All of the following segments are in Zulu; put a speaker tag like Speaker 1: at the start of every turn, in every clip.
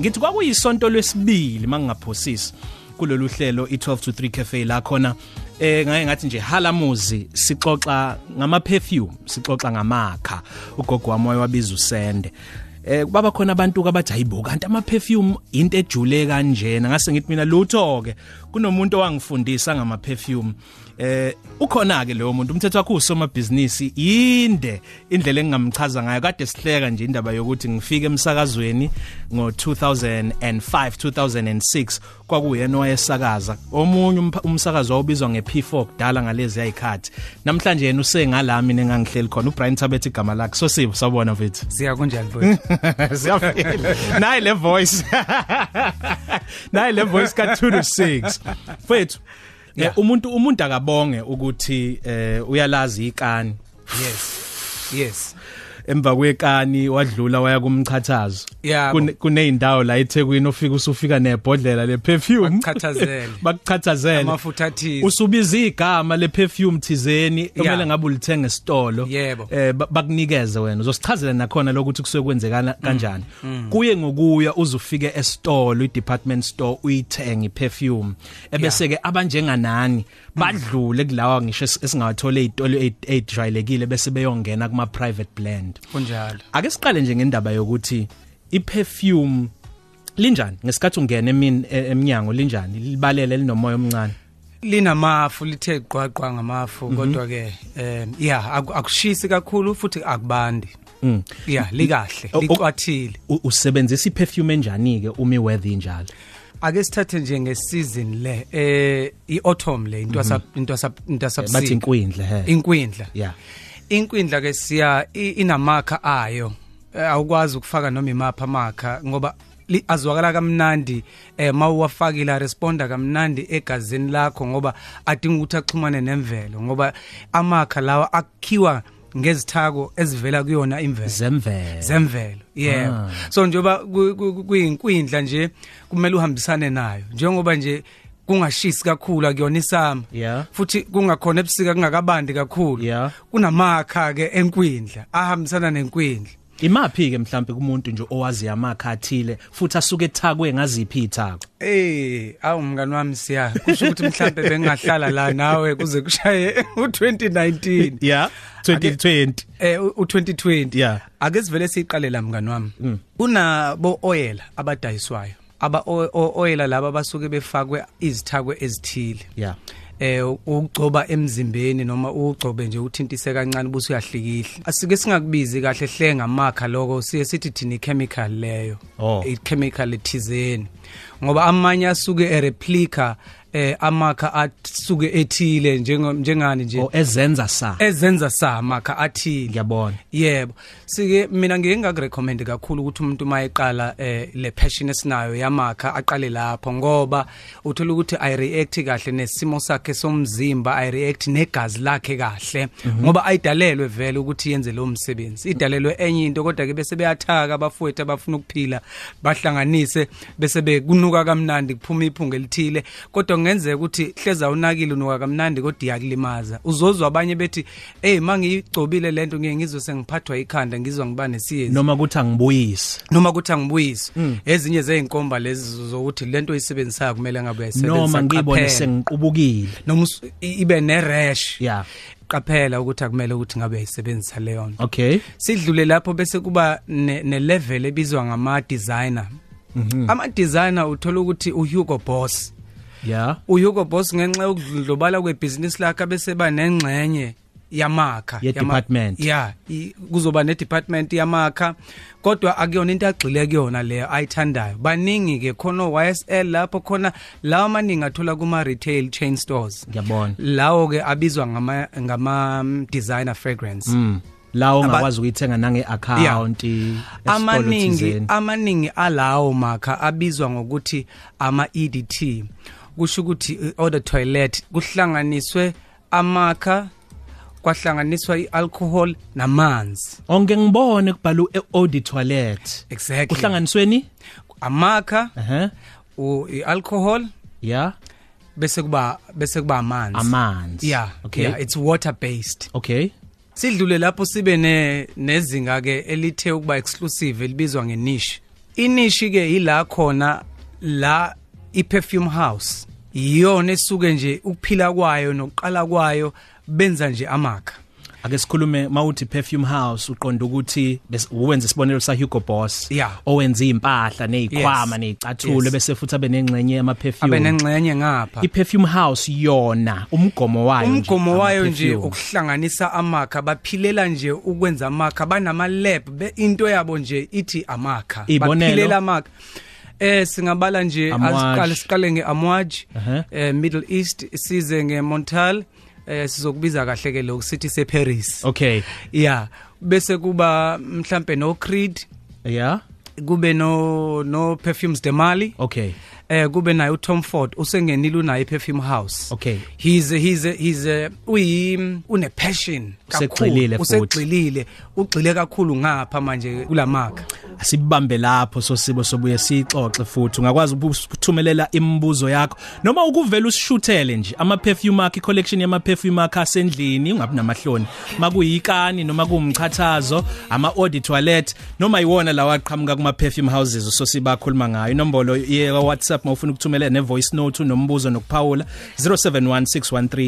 Speaker 1: ngithi kwakuyisonto lwesibili mangingaphosisi kulolu hlelo i12 to 3 cafe la khona eh ngaye ngathi nje halamuzi sixoxa ngama perfume sixoxa ngamakha ugogo wamoya wabiza usende eh kubaba khona abantu kabajayibo kanti ama perfume into ejule kanjena ngase ngithi mina lutho ke kunomuntu owangifundisa ngama perfume eh ukhona ke leyo muntu umthetho wakhe usoma business yinde indlela engingamchaza ngayo kade sihleka nje indaba yokuthi ngifike emsakazweni ngo 2005 2006 kwakuyena owayesakaza omunye umpha- umsakazi wawubizwa ngeP4 kudala ngalezi ayikhathi namhlanje yena usengalami nengangihleli khona uBrian Tabet igama lakhe so sibo sabona mfethu
Speaker 2: siya kunjani futhi
Speaker 1: siyafika nayi le voice nayi le voice ka 2 to 6 fethu eh, umuntu umuntu akabonge ukuthi eh, uyalazi ikani
Speaker 2: yes yes
Speaker 1: emva kwekani wadlula waya kumchathazo
Speaker 2: Yabo.
Speaker 1: Kune- kuneyindawo la eThekwini ofika usufika nebhodlela le perfume
Speaker 2: Bakuchathazele.
Speaker 1: bakuchathazele
Speaker 2: amafutha athize
Speaker 1: usubiza igama le perfume thizeni
Speaker 2: Yeah.
Speaker 1: kumele ngabe ulithenga esitolo
Speaker 2: Yebo.
Speaker 1: eh ba- bakunikeze wena uzosichazela nakhona lokuthi kusuke kwenzekana kanjani kuye ngokuya uzufike esitolo i department store uyithenge i perfume ebese ke abanjenganani badlule kulawa ngisho es- esingawathola ezitolo ezijwayelekile bese beyongena kuma private blend
Speaker 2: kunjalo
Speaker 1: ake siqale nje ngendaba yokuthi i perfume linjani ngesikhathi ungena emini e- emnyango linjani libalele linomoya omncane
Speaker 2: linamafu lithe gqwaqwa
Speaker 1: Mhm.
Speaker 2: ngamafu kodwa ke em yeah aku- akushisi kakhulu futhi akubandi
Speaker 1: Mm.
Speaker 2: yeah likahle
Speaker 1: Oh, oh.
Speaker 2: licwathile
Speaker 1: U- usebenzisa iperfume enjani ke uma iweather injalo
Speaker 2: ake sithathe nje ngesizini le eh iautumn le into asap into asap into
Speaker 1: Mhm. bathi
Speaker 2: asap
Speaker 1: inkwindle he
Speaker 2: inkwindla
Speaker 1: yeah
Speaker 2: inkwindla ke siya i- inamakha ayo Eh, awukwazi ukufaka noma imapha amakha ngoba li- azwakala kamnandi eh mawuwafakile responda kamnandi egazini lakho ngoba adinga ukuthi axhumane nemvelo ngoba amakha lawa akhiwa ngezithako ezivela kuyona imvelo
Speaker 1: zemvelo
Speaker 2: zemvelo yebo
Speaker 1: Ah.
Speaker 2: so njoba ku- ku- kuyinkwindla nje kumele uhambisane nayo njengoba nje kungashisi kakhulu akuyona isama
Speaker 1: Yeah.
Speaker 2: futhi kungakhona ebusika kungakabandi kakhulu
Speaker 1: Yeah.
Speaker 2: kunamakha ke enkwindla ahambisana nenkwindla
Speaker 1: imaphi ke mhlambe kumuntu nje owazi yamakhathile futhi asuke ethakwe ngaziphi ithako
Speaker 2: Eh awu mngani wami siya kusho ukuthi mhlambe bengahlala la nawe kuze kushaye u2019
Speaker 1: yeah 2020
Speaker 2: eh u- u2020
Speaker 1: Yeah. Mm.
Speaker 2: ake sivele siqale la mngani wami kunabo oil abadayiswayo aba o- o- oil laba basuke befakwe izithakwe ezithile
Speaker 1: yeah
Speaker 2: eh ugcoba emzimbeni noma ugcobe nje uthintise kancane bese uyahlikihle asike singakubizi kahle hle ngamakha lokho siye sithi thini chemical leyo
Speaker 1: Oh.
Speaker 2: i chemical ethizeni ngoba amanye asuke e replica eh amakha asuke ethile njengo- njengani nje
Speaker 1: o ezenza
Speaker 2: E-
Speaker 1: sa
Speaker 2: ezenza samakha athile
Speaker 1: ngiyabona
Speaker 2: yebo sike mina ngeke ngakurecommend kakhulu ukuthi umuntu mayeqala eh, le passion esinayo yamakha aqale lapho ngoba uthola ukuthi i react kahle nesimo sakhe somzimba i react negazi lakhe kahle ngoba ayidalelwe vele ukuthi yenze lo msebenzi idalelwe enye into kodwa ke bese beyathaka abafowethu abafuna ukuphila bahlanganise bese bekunuka kamnandi kuphuma iphunga elithile kodwa kungenzeka ukuthi hleza awunakile unuka kamnandi kodwa iyakulimaza uzozwa abanye bethi hey mangiyigcobile lento ngiye ngizwe sengiphathwa ikhanda ngizwa ngiba nesiyezi
Speaker 1: noma ukuthi angibuyisi
Speaker 2: noma ukuthi angibuyisi ezinye zeinkomba lezi zokuthi lento oyisebenzisayo kumele ngabe uyayisebenzisa
Speaker 1: noma ngibone
Speaker 2: qaphela.
Speaker 1: sengiqubukile
Speaker 2: noma us- i- ibe ne rash
Speaker 1: yeah
Speaker 2: qaphela ukuthi akumele ukuthi ngabe uyayisebenzisa leyo nto
Speaker 1: okay
Speaker 2: sidlule lapho bese kuba ne, ne level ebizwa ngama designer mm-hmm. ama designer uthola ukuthi u Hugo Boss
Speaker 1: yeah
Speaker 2: u Hugo Boss ngenxa yokudlobala kwebusiness lakhe bese ba nengxenye yamakha
Speaker 1: Ye
Speaker 2: yama-
Speaker 1: department.
Speaker 2: yeah i- kuzoba ne department yamakha kodwa akuyona into agxile kuyona leyo ayithandayo baningi ke khona YSL lapho khona lawa maningi athola kuma retail chain stores
Speaker 1: ngiyabona
Speaker 2: lawo ke abizwa ngama ngama mm, designer fragrance
Speaker 1: mm lawo
Speaker 2: Aba-
Speaker 1: ongakwazi ukuyithenga nange account
Speaker 2: amaningi amaningi alawo makha abizwa ngokuthi ama EDT kusho ukuthi uh, order toilet kuhlanganiswe amakha kwahlanganiswa ialcohol namanzi
Speaker 1: onke ngibone kubhalwe eau de toilette
Speaker 2: exactly
Speaker 1: kuhlanganisweni
Speaker 2: amakha
Speaker 1: ehe
Speaker 2: u- ialcohol
Speaker 1: yeah
Speaker 2: bese kuba bese kuba amanzi
Speaker 1: amanzi
Speaker 2: yeah
Speaker 1: okay
Speaker 2: yeah it's water based
Speaker 1: okay
Speaker 2: sidlule lapho sibe ne nezinga ke elithe ukuba exclusive elibizwa nge niche inishi ke ila khona la iperfume house iyona esuke nje ukuphila kwayo nokuqala kwayo benza nje amakha
Speaker 1: ake sikhulume mawuthi perfume house uqonda ukuthi bes- uwenza isibonelo sa Hugo Boss
Speaker 2: Yeah.
Speaker 1: owenza impahla nezikhwama
Speaker 2: Yes.
Speaker 1: nezicathulo
Speaker 2: Yes.
Speaker 1: bese futhi abenengxenye yama perfume
Speaker 2: abenengxenye ngapha
Speaker 1: iperfume house yona umgomo wayo nje,
Speaker 2: umgomo wayo nje
Speaker 1: ama-perfume.
Speaker 2: ukuhlanganisa amakha baphilela nje ukwenza amakha banama-lab be- into yabo nje ithi amakha
Speaker 1: Ibonelo?
Speaker 2: baphilela amakha eh singabala nje
Speaker 1: Amouage.
Speaker 2: asiqale siqale nge-amwaj
Speaker 1: Ehhe.
Speaker 2: eh, middle east size nge-montal eh sizokubiza kahle ke lokhu sithi separis
Speaker 1: okay
Speaker 2: ya bese kuba mhlambe no-creed
Speaker 1: yeah
Speaker 2: kube no no perfumes de mali
Speaker 1: okay
Speaker 2: eh kube naye uTom Ford usengenile unaye perfume house
Speaker 1: Okay.
Speaker 2: he's a, he's a, he's a, uyi une passion
Speaker 1: Usegxilile
Speaker 2: kakhulu
Speaker 1: futhi.
Speaker 2: usegxilile ugxile kakhulu ngapha manje kulamakha
Speaker 1: asibambe lapho sosibo sobuye sixoxe futhi ungakwazi ukuthumelela imibuzo yakho noma ukuvela usishuthele nje ama perfume akhe collection yama perfume akhe asendlini ungabi namahloni makuyikani noma kuumchathazo ama eau de toilette noma iwona lawa aqhamuka kuma perfume houses sosiba khuluma ngayo inombolo ye WhatsApp mawufuna ukuthumela ne voice note nombuzo nokuphawula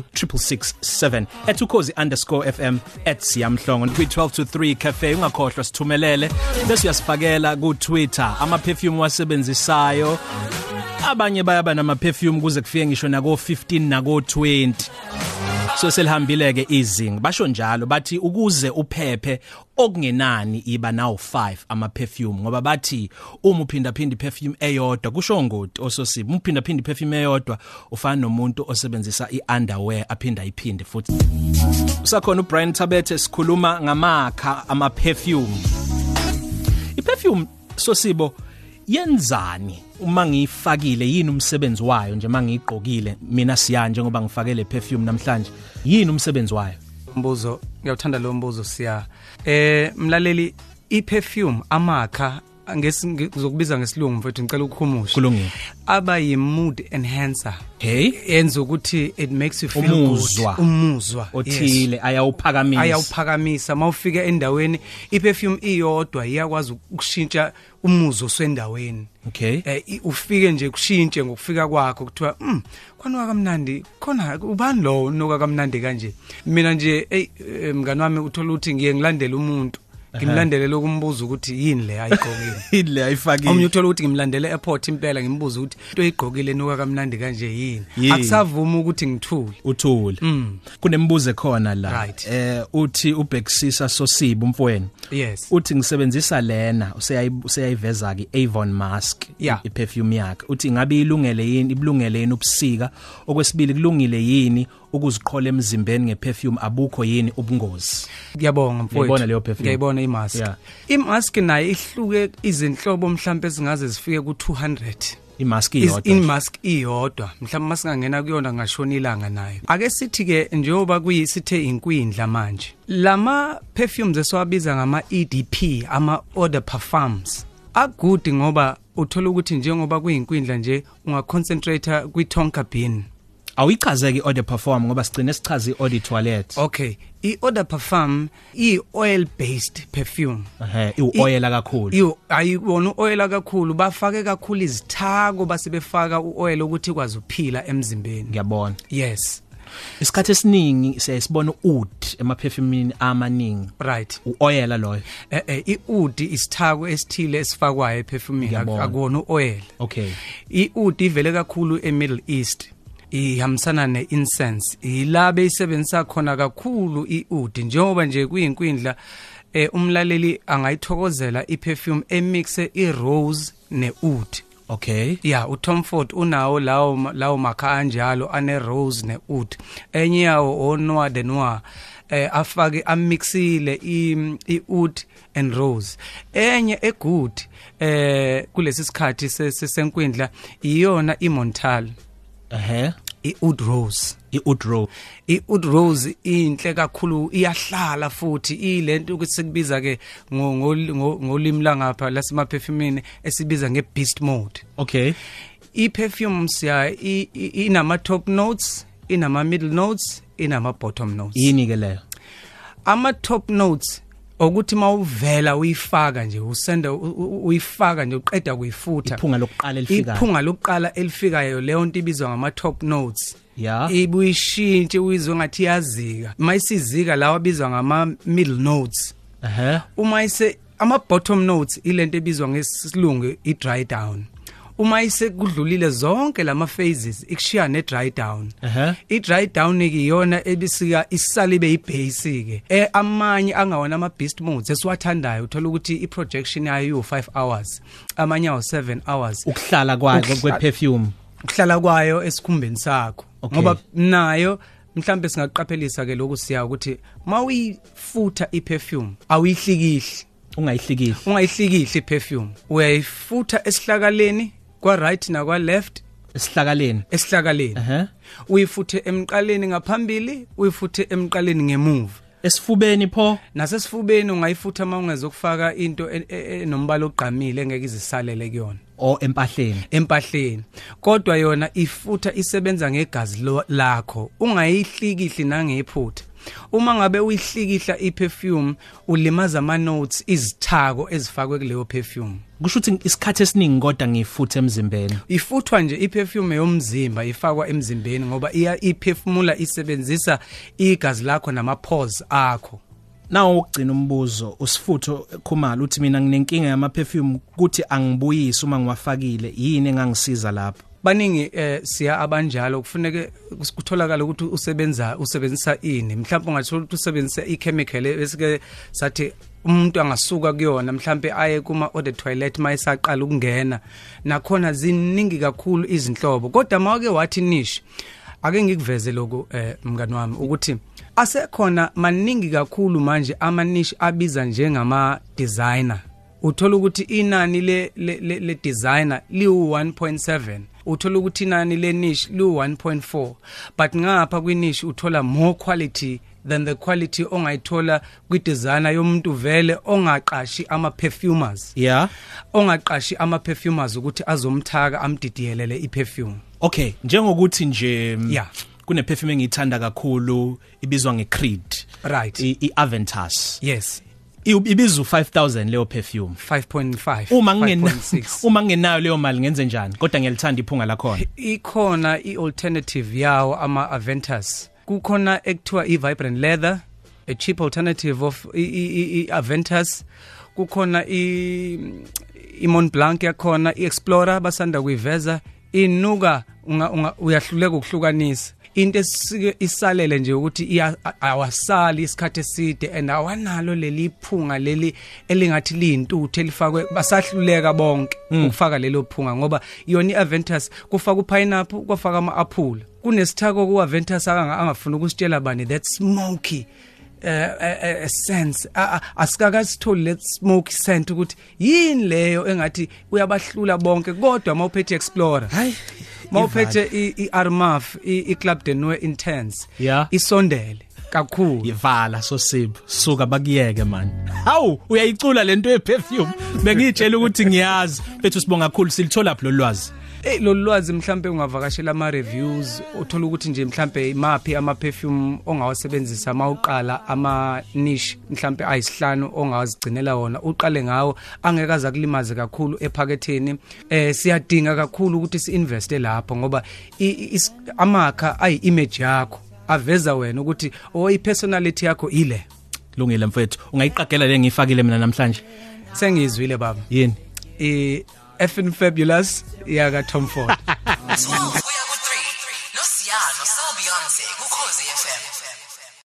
Speaker 1: 0716136667 @ukhozi_fm @siyamhlongo kwi 12 to 3 cafe ungakhohlwa sithumelele bese uyasifakela ku Twitter ama perfume wasebenzisayo abanye bayaba nama perfume kuze kufike ngisho nako 15 nako 20 so selihambile ke izinga basho njalo bathi ukuze uphephe okungenani iba nawo 5 ama perfume ngoba bathi uma uphinda phinda perfume eyodwa kusho ngoti ososiba uphinda phinda perfume eyodwa ufana nomuntu osebenzisa iunderwear aphinda iphinde futhi usakhona uBrian Tabete sikhuluma ngamakha ama perfume iperfume sosibo yenzani uma ngiyifakile yini umsebenzi wayo nje mangiyigqokile mina siya njengoba ngifake le perfume namhlanje yini umsebenzi wayo
Speaker 2: mbuzo ngiyawuthanda lo mbuzo siya eh mlaleli iperfume amakha ngesi ngizokubiza ngesilungu mfethu ngicela ukukhumusha
Speaker 1: Kulungile.
Speaker 2: aba yi mood enhancer
Speaker 1: hey
Speaker 2: yenza ukuthi it makes you feel
Speaker 1: Umuzwa.
Speaker 2: good umuzwa yes.
Speaker 1: othile ayawuphakamisa
Speaker 2: ayawuphakamisa mawufika endaweni iperfume iyodwa iyakwazi ukushintsha umuzo sendaweni
Speaker 1: okay
Speaker 2: eh i- ufike nje kushintshe ngokufika kwakho kuthiwa mm kwanoka kamnandi khona ubani lo unoka kamnandi kanje mina nje ey eh, mngani wami uthola ukuthi ngiye ngilandele umuntu ngimlandele lokumbuza ukuthi yini le ayigqokile
Speaker 1: ile
Speaker 2: Omnye
Speaker 1: ayifakile
Speaker 2: uthola ukuthi ngimlandele airport impela ngimbuza ukuthi into eyigqokile nuka kamnandi kanje yini
Speaker 1: Yini?
Speaker 2: akusavuma ukuthi ngithule Hmm,
Speaker 1: uthule kunembuzo khona la
Speaker 2: Mm. Right.
Speaker 1: eh uthi ubhekisisa sosiba umfweni
Speaker 2: yes
Speaker 1: uthi ngisebenzisa lena useyayi- useyayiveza ke Avon mask
Speaker 2: Yeah.
Speaker 1: i- iperfume yakhe uthi ngabe ilungele yini ibulungele yini ubusika okwesibili kulungile yini ukuziqhola emzimbeni ngeperfume abukho yini ubungozi
Speaker 2: Ngiyabonga mfowethu.
Speaker 1: Ngiyayibona leyo perfume.
Speaker 2: Ngiyayibona imask.
Speaker 1: Yeah.
Speaker 2: Imask nayo ihluke izinhlobo mhlawumbe ezingaze zifike ku200.
Speaker 1: imask
Speaker 2: Is
Speaker 1: iyodwa
Speaker 2: in mask iyodwa mhlawumbe masingangena kuyona ngashona ilanga nayo ake sithi ke njengoba kuyisithe inkwindla manje lama perfumes esiwabiza ngama EDP ama eau de parfums agudi ngoba uthola ukuthi njengoba kuyinkwindla nje ungaconcentrate kwi tonka bean
Speaker 1: awuyichazeki eau de perfume ngoba sigcine sichaza i-eau de toilette
Speaker 2: okay i eau de parfum i oil based perfume
Speaker 1: ehe iwoyela kakhulu
Speaker 2: yo ayibona uoyela kakhulu bafake kakhulu izithako basebefaka uoyela ukuthi ikwazi uphila emzimbeni
Speaker 1: ngiyabona
Speaker 2: yes
Speaker 1: isikhathi esiningi siyasibona ud emaperfumini amaningi
Speaker 2: right
Speaker 1: uoyela loyo
Speaker 2: eh eh iudi isithako esithile esifakwayo eperfumini
Speaker 1: Ngiyabona.
Speaker 2: akubona uoyela
Speaker 1: okay
Speaker 2: iudi ivele kakhulu eMiddle East ihambisana neincense ilabe isebenzisa khona kakhulu iudi njengoba nje kuyinkwindla eh umlaleli angayithokozela iperfume emixe irose neudi
Speaker 1: okay
Speaker 2: ya uTom Ford unawo lawo ma- lawo makha anjalo ane rose neoud enye yawo onwa the noir eh afake amixile i iud and rose enye egood eh kulesi sikhathi se- se- senkwindla iyona imontal
Speaker 1: ehe
Speaker 2: iud rose
Speaker 1: iud row
Speaker 2: iud rose inhle kakhulu iyahlala futhi ilento ukuthi sikubiza ke ngo- ngo- ngo- ngolimi langapha lasemaphefumini esibiza ngebeast mode
Speaker 1: okay
Speaker 2: i-perfumes ya i- i- inama-top notes inama-middle notes inama-bottom notes
Speaker 1: yini ke leyo
Speaker 2: ama-top notes ukuthi mawuvela uyifaka nje usenda u- u- uyifaka nje uqeda kuyifutha
Speaker 1: Iphunga lokuqala elifikayo.
Speaker 2: iphunga lokuqala elifikayo leyo nto ibizwa ngama top notes
Speaker 1: Ya.
Speaker 2: ibuyishintshe uyizwe ngathi iyazika mayisizika lawa abizwa ngama middle notes
Speaker 1: ehe
Speaker 2: uma ise ama bottom notes ilento ebizwa ngesilungu i dry down uma ise kudlulile zonke lama phases ikushiya ne dry down
Speaker 1: Ehhe.
Speaker 2: i dry down ikiyona ebisika isale be ibase ke Eh, amanye angawona ama beast modes esiwathandayo uthola ukuthi i projection yayo 5 hours amanye awu 7 hours
Speaker 1: ukuhlala kwayo
Speaker 2: Ukuhlala.
Speaker 1: kweperfume
Speaker 2: ukuhlala kwayo esikhumbeni sakho
Speaker 1: Okay.
Speaker 2: ngoba nayo mhlambe singaqaphelisa ke lokhu siya ukuthi mawuyifutha i perfume awuyihlikihli
Speaker 1: ungayihlikihli
Speaker 2: ungayihlikihli iperfume uyayifutha esihlakaleni kwa right na kwa left
Speaker 1: esihlakaleni
Speaker 2: esihlakaleni
Speaker 1: ehe
Speaker 2: uyifuthe emqaleni ngaphambili uyifuthe emqaleni ngemuva
Speaker 1: esifubeni pho
Speaker 2: nasesifubeni ungayifutha uma ungezokufaka into e- e- enombala ogqamile engeke izisalele kuyona
Speaker 1: o empahleni
Speaker 2: empahleni kodwa yona ifutha isebenza ngegazi lo- lakho ungayihlikihli nangephutha uma ngabe uyihlikihla iperfume ulimaza ama notes izithako ezifakwe kuleyo perfume
Speaker 1: kusho ukuthi isikhathi esiningi kodwa ngifuthe emzimbeni
Speaker 2: ifuthwa nje iperfume yomzimba ifakwa emzimbeni ngoba iya iphefumula isebenzisa igazi lakho nama pores akho
Speaker 1: nawo ugcina umbuzo usifutho khumalo uthi mina nginenkinga yama perfume kuthi angibuyise uma ngiwafakile yini engangisiza lapho
Speaker 2: baningi eh, siya abanjalo kufuneke kus- kutholakala ukuthi usebenza usebenzisa ini mhlawumbe ungathola ukuthi usebenzisa ichemical esike sathi umuntu angasuka kuyona mhlawumbe aye kuma order toilet mayisaqala ukungena nakhona ziningi kakhulu izinhlobo kodwa mawake wathi niche ake ngikuveze lokhu eh, mngani wami ukuthi asekhona maningi kakhulu manje ama niche abiza njengama designer uthola ukuthi inani le le, le, le designer liwu 1.7 uthola ukuthi inani le niche liwu 1.4 but ngapha kwi niche uthola more quality than the quality ongayithola kwi designer yomuntu vele ongaqashi ama perfumers
Speaker 1: yeah
Speaker 2: ongaqashi ama perfumers ukuthi azomthaka amdidiyelele i perfume
Speaker 1: okay njengokuthi nje
Speaker 2: Yeah.
Speaker 1: kune perfume engiyithanda kakhulu ibizwa ngeCreed
Speaker 2: right
Speaker 1: i- iAventus
Speaker 2: yes
Speaker 1: I- ibiza u5000 leyo perfume
Speaker 2: 5.5
Speaker 1: uma ngingena
Speaker 2: 5.6.
Speaker 1: uma ngingenayo leyo mali ngenze njani kodwa ngiyalithanda iphunga lakhona
Speaker 2: ikhona i-alternative yawo ama-aventus kukhona ekuthiwa i-vibrant leather a cheap alternative of i- i- i- i-aventus kukhona i- i-mont blanc yakhona i-explorer basanda kuyiveza inuka unga- unga- uyahluleka ukuhlukanisa into esike isalele nje ukuthi iya- a- awasali isikhathi eside and awanalo leli phunga leli elingathi liyintuthu elifakwe basahluleka bonke ukufaka lelo phunga ngoba yona i-aventus kufaka upineapple kwafaka ama-aphula kunesithako ku-aventus akanga- angafuni ukusitshela bani that smoky uh, uh, sense A- a- asikakasitholi let smoky scent ukuthi yini leyo engathi uyabahlula bonke kodwa uma uphethe explorer
Speaker 1: hayi
Speaker 2: mawuphethe i- i-armaf i- i-club denwe intense
Speaker 1: Yeah.
Speaker 2: isondele kakhulu
Speaker 1: yivala so sipho suka bakuyeke man hawu uyayicula lento yeperfume bengitshela ukuthi ngiyazi bethu sibonga kakhulu silithola phlo lwazi
Speaker 2: Eh lolu lwazi mhlambe ungavakashela ama reviews uthola ukuthi nje mhlambe imaphi ama perfume ongawasebenzisa mawuqala ama niche mhlambe ayisihlanu ongawazigcinela wona uqale ngawo angeke aza kulimaze kakhulu ephaketheni eh siyadinga kakhulu ukuthi siinveste lapho ngoba i- i- is- amakha ayi image yakho aveza wena ukuthi o i personality yakho ile
Speaker 1: kulungile mfethu ungayiqagela le ngiyifakile mina namhlanje
Speaker 2: sengizwile baba
Speaker 1: yini
Speaker 2: i effing E fabulous yaka Tom Ford
Speaker 3: 12 kuya ku 3 nosiyalo so beyonce kukhozi fm